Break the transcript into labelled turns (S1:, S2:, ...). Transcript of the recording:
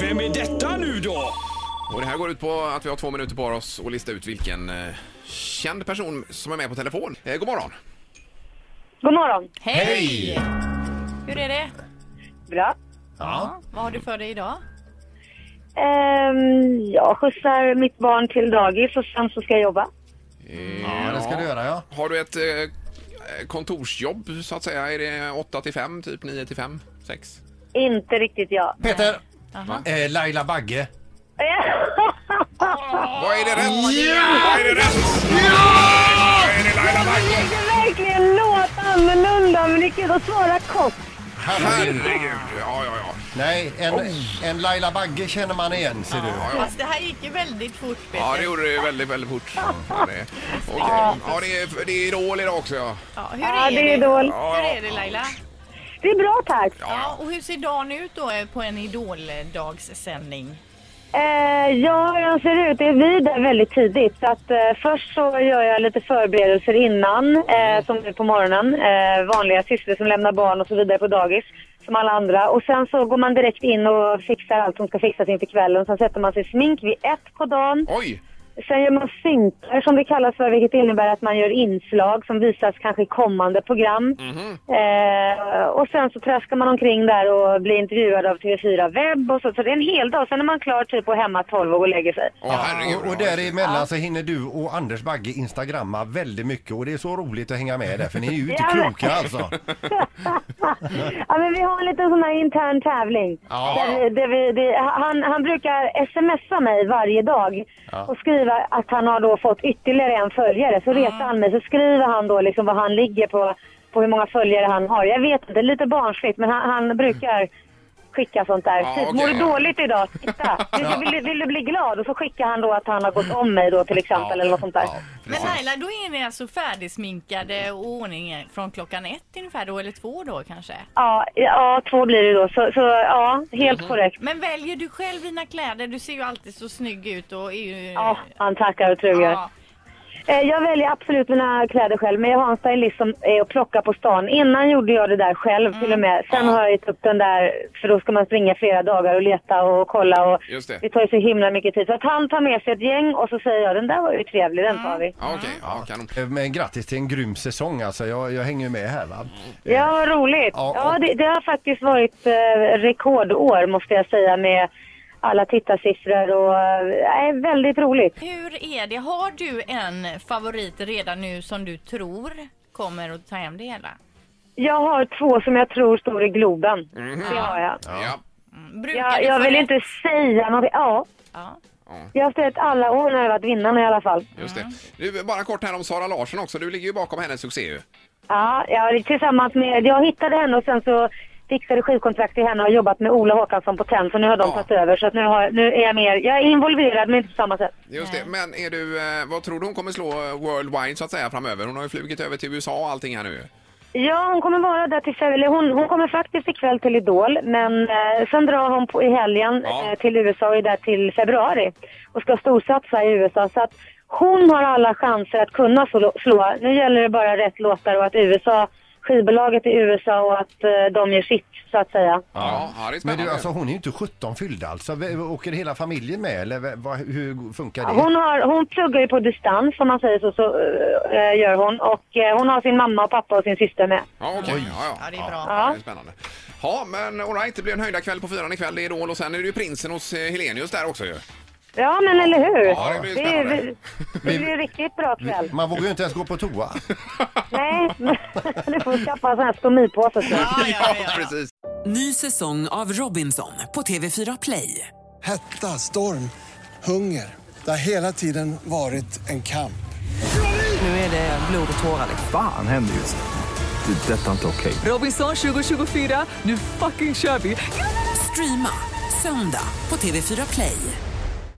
S1: Vem är detta nu då?
S2: Och det här går ut på att vi har två minuter på oss att lista ut vilken eh, känd person som är med på telefon. Eh, god morgon!
S3: God morgon.
S4: Hej! Hur är det?
S3: Bra.
S4: Vad har du för dig idag?
S3: Ehm, jag skjutsar mitt barn till dagis och sen så ska jag jobba.
S5: Ja, det ska du göra ja.
S2: Har du ett eh, kontorsjobb så att säga? Är det 8 till 5, typ 9 till 5, 6?
S3: Inte riktigt jag.
S5: Peter! Eh, Laila Bagge.
S2: Vad är det rätt? Vad är det rätt? Vad är det Laila Bagge?
S3: Det verkligen låta annorlunda men det kan att svara kort.
S2: Herregud! Ja, ja, ja.
S5: Nej, en, en Laila Bagge känner man igen ser du.
S4: Fast det här gick ju väldigt fort Peter.
S2: Ja, det gjorde det väldigt, väldigt fort. Ja, det, okay. ja, det, är, det är Idol idag också, ja.
S4: Ja, hur
S3: Ja,
S4: är
S3: det är dåligt.
S4: Hur är det Laila?
S3: Det är bra tack.
S4: Ja, och hur ser dagen ut då eh, på en idoldagssändning?
S3: Eh, ja, hur den ser ut? Det är vi där väldigt tidigt. Så att, eh, först så gör jag lite förberedelser innan, eh, som nu på morgonen. Eh, vanliga sysslor som lämnar barn och så vidare på dagis, som alla andra. Och sen så går man direkt in och fixar allt som ska fixas inför kvällen. Sen sätter man sig i smink vid ett på dagen.
S2: Oj!
S3: Sen gör man synkar som det kallas för, vilket innebär att man gör inslag som visas kanske i kommande program. Eh, och sen så traskar man omkring där och blir intervjuad av TV4 Webb och så. Så det är en hel dag. Sen är man klar typ och hemma 12 och går och lägger sig.
S2: Åh, herregud.
S5: Och, och däremellan så hinner du och Anders Bagge instagramma väldigt mycket och det är så roligt att hänga med där för ni är ju inte
S3: Ja, men-
S5: kloka alltså.
S3: ja, men vi har en liten sån här intern tävling.
S5: Ja.
S3: Där vi, där vi, det, han, han brukar smsa mig varje dag och skriva att han har då fått ytterligare en följare. Så retar han mig, så skriver han då liksom vad han ligger på, på hur många följare han har. Jag vet inte, det är lite barnsligt men han, han brukar skicka sånt där.
S2: Ja,
S3: typ,
S2: okej,
S3: mår
S2: ja.
S3: du dåligt idag? Titta, vill, du- vill, du- vill du bli glad? Och så skickar han då att han har gått om mig då till exempel eller något sånt där.
S4: Men Laila, då är ni alltså färdigsminkade och ordningen från klockan ett ungefär då, eller två då kanske?
S3: Ja, ja, två blir det då. Så, så ja, helt korrekt.
S4: Men väljer du själv dina kläder? Du ser ju alltid så snygg ut och är ju...
S3: Ja, han tackar och trugar.
S4: Ja.
S3: Eh, Jag väljer absolut mina kläder själv, men jag har en stylist som är och plockar på stan. Innan gjorde jag det där själv till och med. Sen har jag gett upp den där, för då ska man springa flera dagar och leta och kolla. Och
S2: Just det.
S3: tar ju så himla mycket tid. Så att han tar med sig ett gäng och så säger jag den där var ju trevlig, den tar vi.
S2: Ja, okej. Ja, kanon.
S5: Eh, Men grattis till en grym säsong alltså. Jag, jag hänger ju med här va.
S3: Ja, vad roligt.
S5: Ja,
S3: Ja,
S5: och-
S3: det, det har faktiskt varit eh, rekordår måste jag säga med alla tittarsiffror och eh, är väldigt roligt.
S4: Hur är det? Har du en favorit redan nu som du tror kommer att ta hem det hela?
S3: Jag har två som jag tror står i Globen. Det har jag.
S2: Ja.
S4: Brukar
S3: Jag,
S4: du
S3: jag
S4: få
S3: vill
S4: rätt?
S3: inte säga något. Ja.
S4: Ja.
S3: Jag har haft rätt alla år när jag varit vinnarna i alla fall.
S2: Just det. Du, bara kort här om Sara Larsson också. Du ligger ju bakom hennes succé ju.
S3: Ja, jag, tillsammans med, jag hittade henne och sen så fixade skivkontrakt till henne och har jobbat med Ola Håkansson på Tenn så nu har de
S2: Ja.
S3: tagit över så att nu, har, nu är jag mer, jag är involverad men inte på samma sätt.
S2: Just det. Men är du, eh, vad tror du hon kommer slå eh, worldwide så att säga framöver? Hon har ju flugit över till USA och allting här nu.
S3: Ja, hon kommer vara där till eller hon, hon kommer faktiskt ikväll till Idol men eh, sen drar hon på, i helgen
S2: Ja.
S3: eh, till USA och är där till februari och ska storsatsa i USA så att hon har alla chanser att kunna slå. slå. Nu gäller det bara rätt låtar och att USA, skivbolaget i USA och att eh, de gör sitt så att säga.
S2: Ja, ja det är
S5: Men
S2: spännande.
S5: du, alltså hon är ju inte 17 fylld alltså. V- Åker hela familjen med eller v- vad- hur funkar det?
S3: Hon, har, hon pluggar ju på distans om man säger så, så eh, gör hon och eh, hon har sin mamma och pappa och sin syster med.
S2: Ja, okej. Ja, ja.
S4: Ja, det är bra.
S2: Ja, det är spännande. Ja, men all right, det blir en höjda kväll på fyran ikväll. Det är Idol och sen är det ju prinsen hos eh, Helenius där också ju.
S3: Ja men eller hur?
S2: Ja, det blir
S3: är-
S2: spännande.
S3: det blir en riktigt bra kväll.
S5: Man vågar ju inte ens gå på toa.
S3: Nej, du får skaffa en sån här stomipåse. tror jag.
S4: Ja, ja, ja.
S2: precis.
S6: Ny säsong av Robinson på TV4 Play.
S7: Hetta, storm, hunger. Det har hela tiden varit en kamp.
S6: Nu är det blod och tårar. liksom.
S8: Fan händer just nu. det. är Detta är inte okej.
S6: Robinson 2024, nu fucking kör vi! Streama Söndag på TV4 Play.